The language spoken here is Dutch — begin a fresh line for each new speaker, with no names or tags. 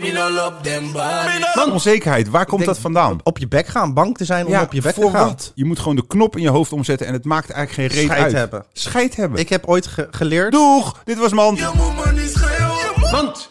all up them bodies.
Man, onzekerheid, waar komt dat vandaan?
Op je bek gaan, bang te zijn om op je bek te
voor
gaan.
wat? Je moet gewoon de knop in je hoofd omzetten en het maakt eigenlijk geen reet
Scheid
uit.
hebben.
Scheid hebben.
Ik heb ooit ge- geleerd...
Doeg, dit was man.
Je moet maar niet schreeuwen.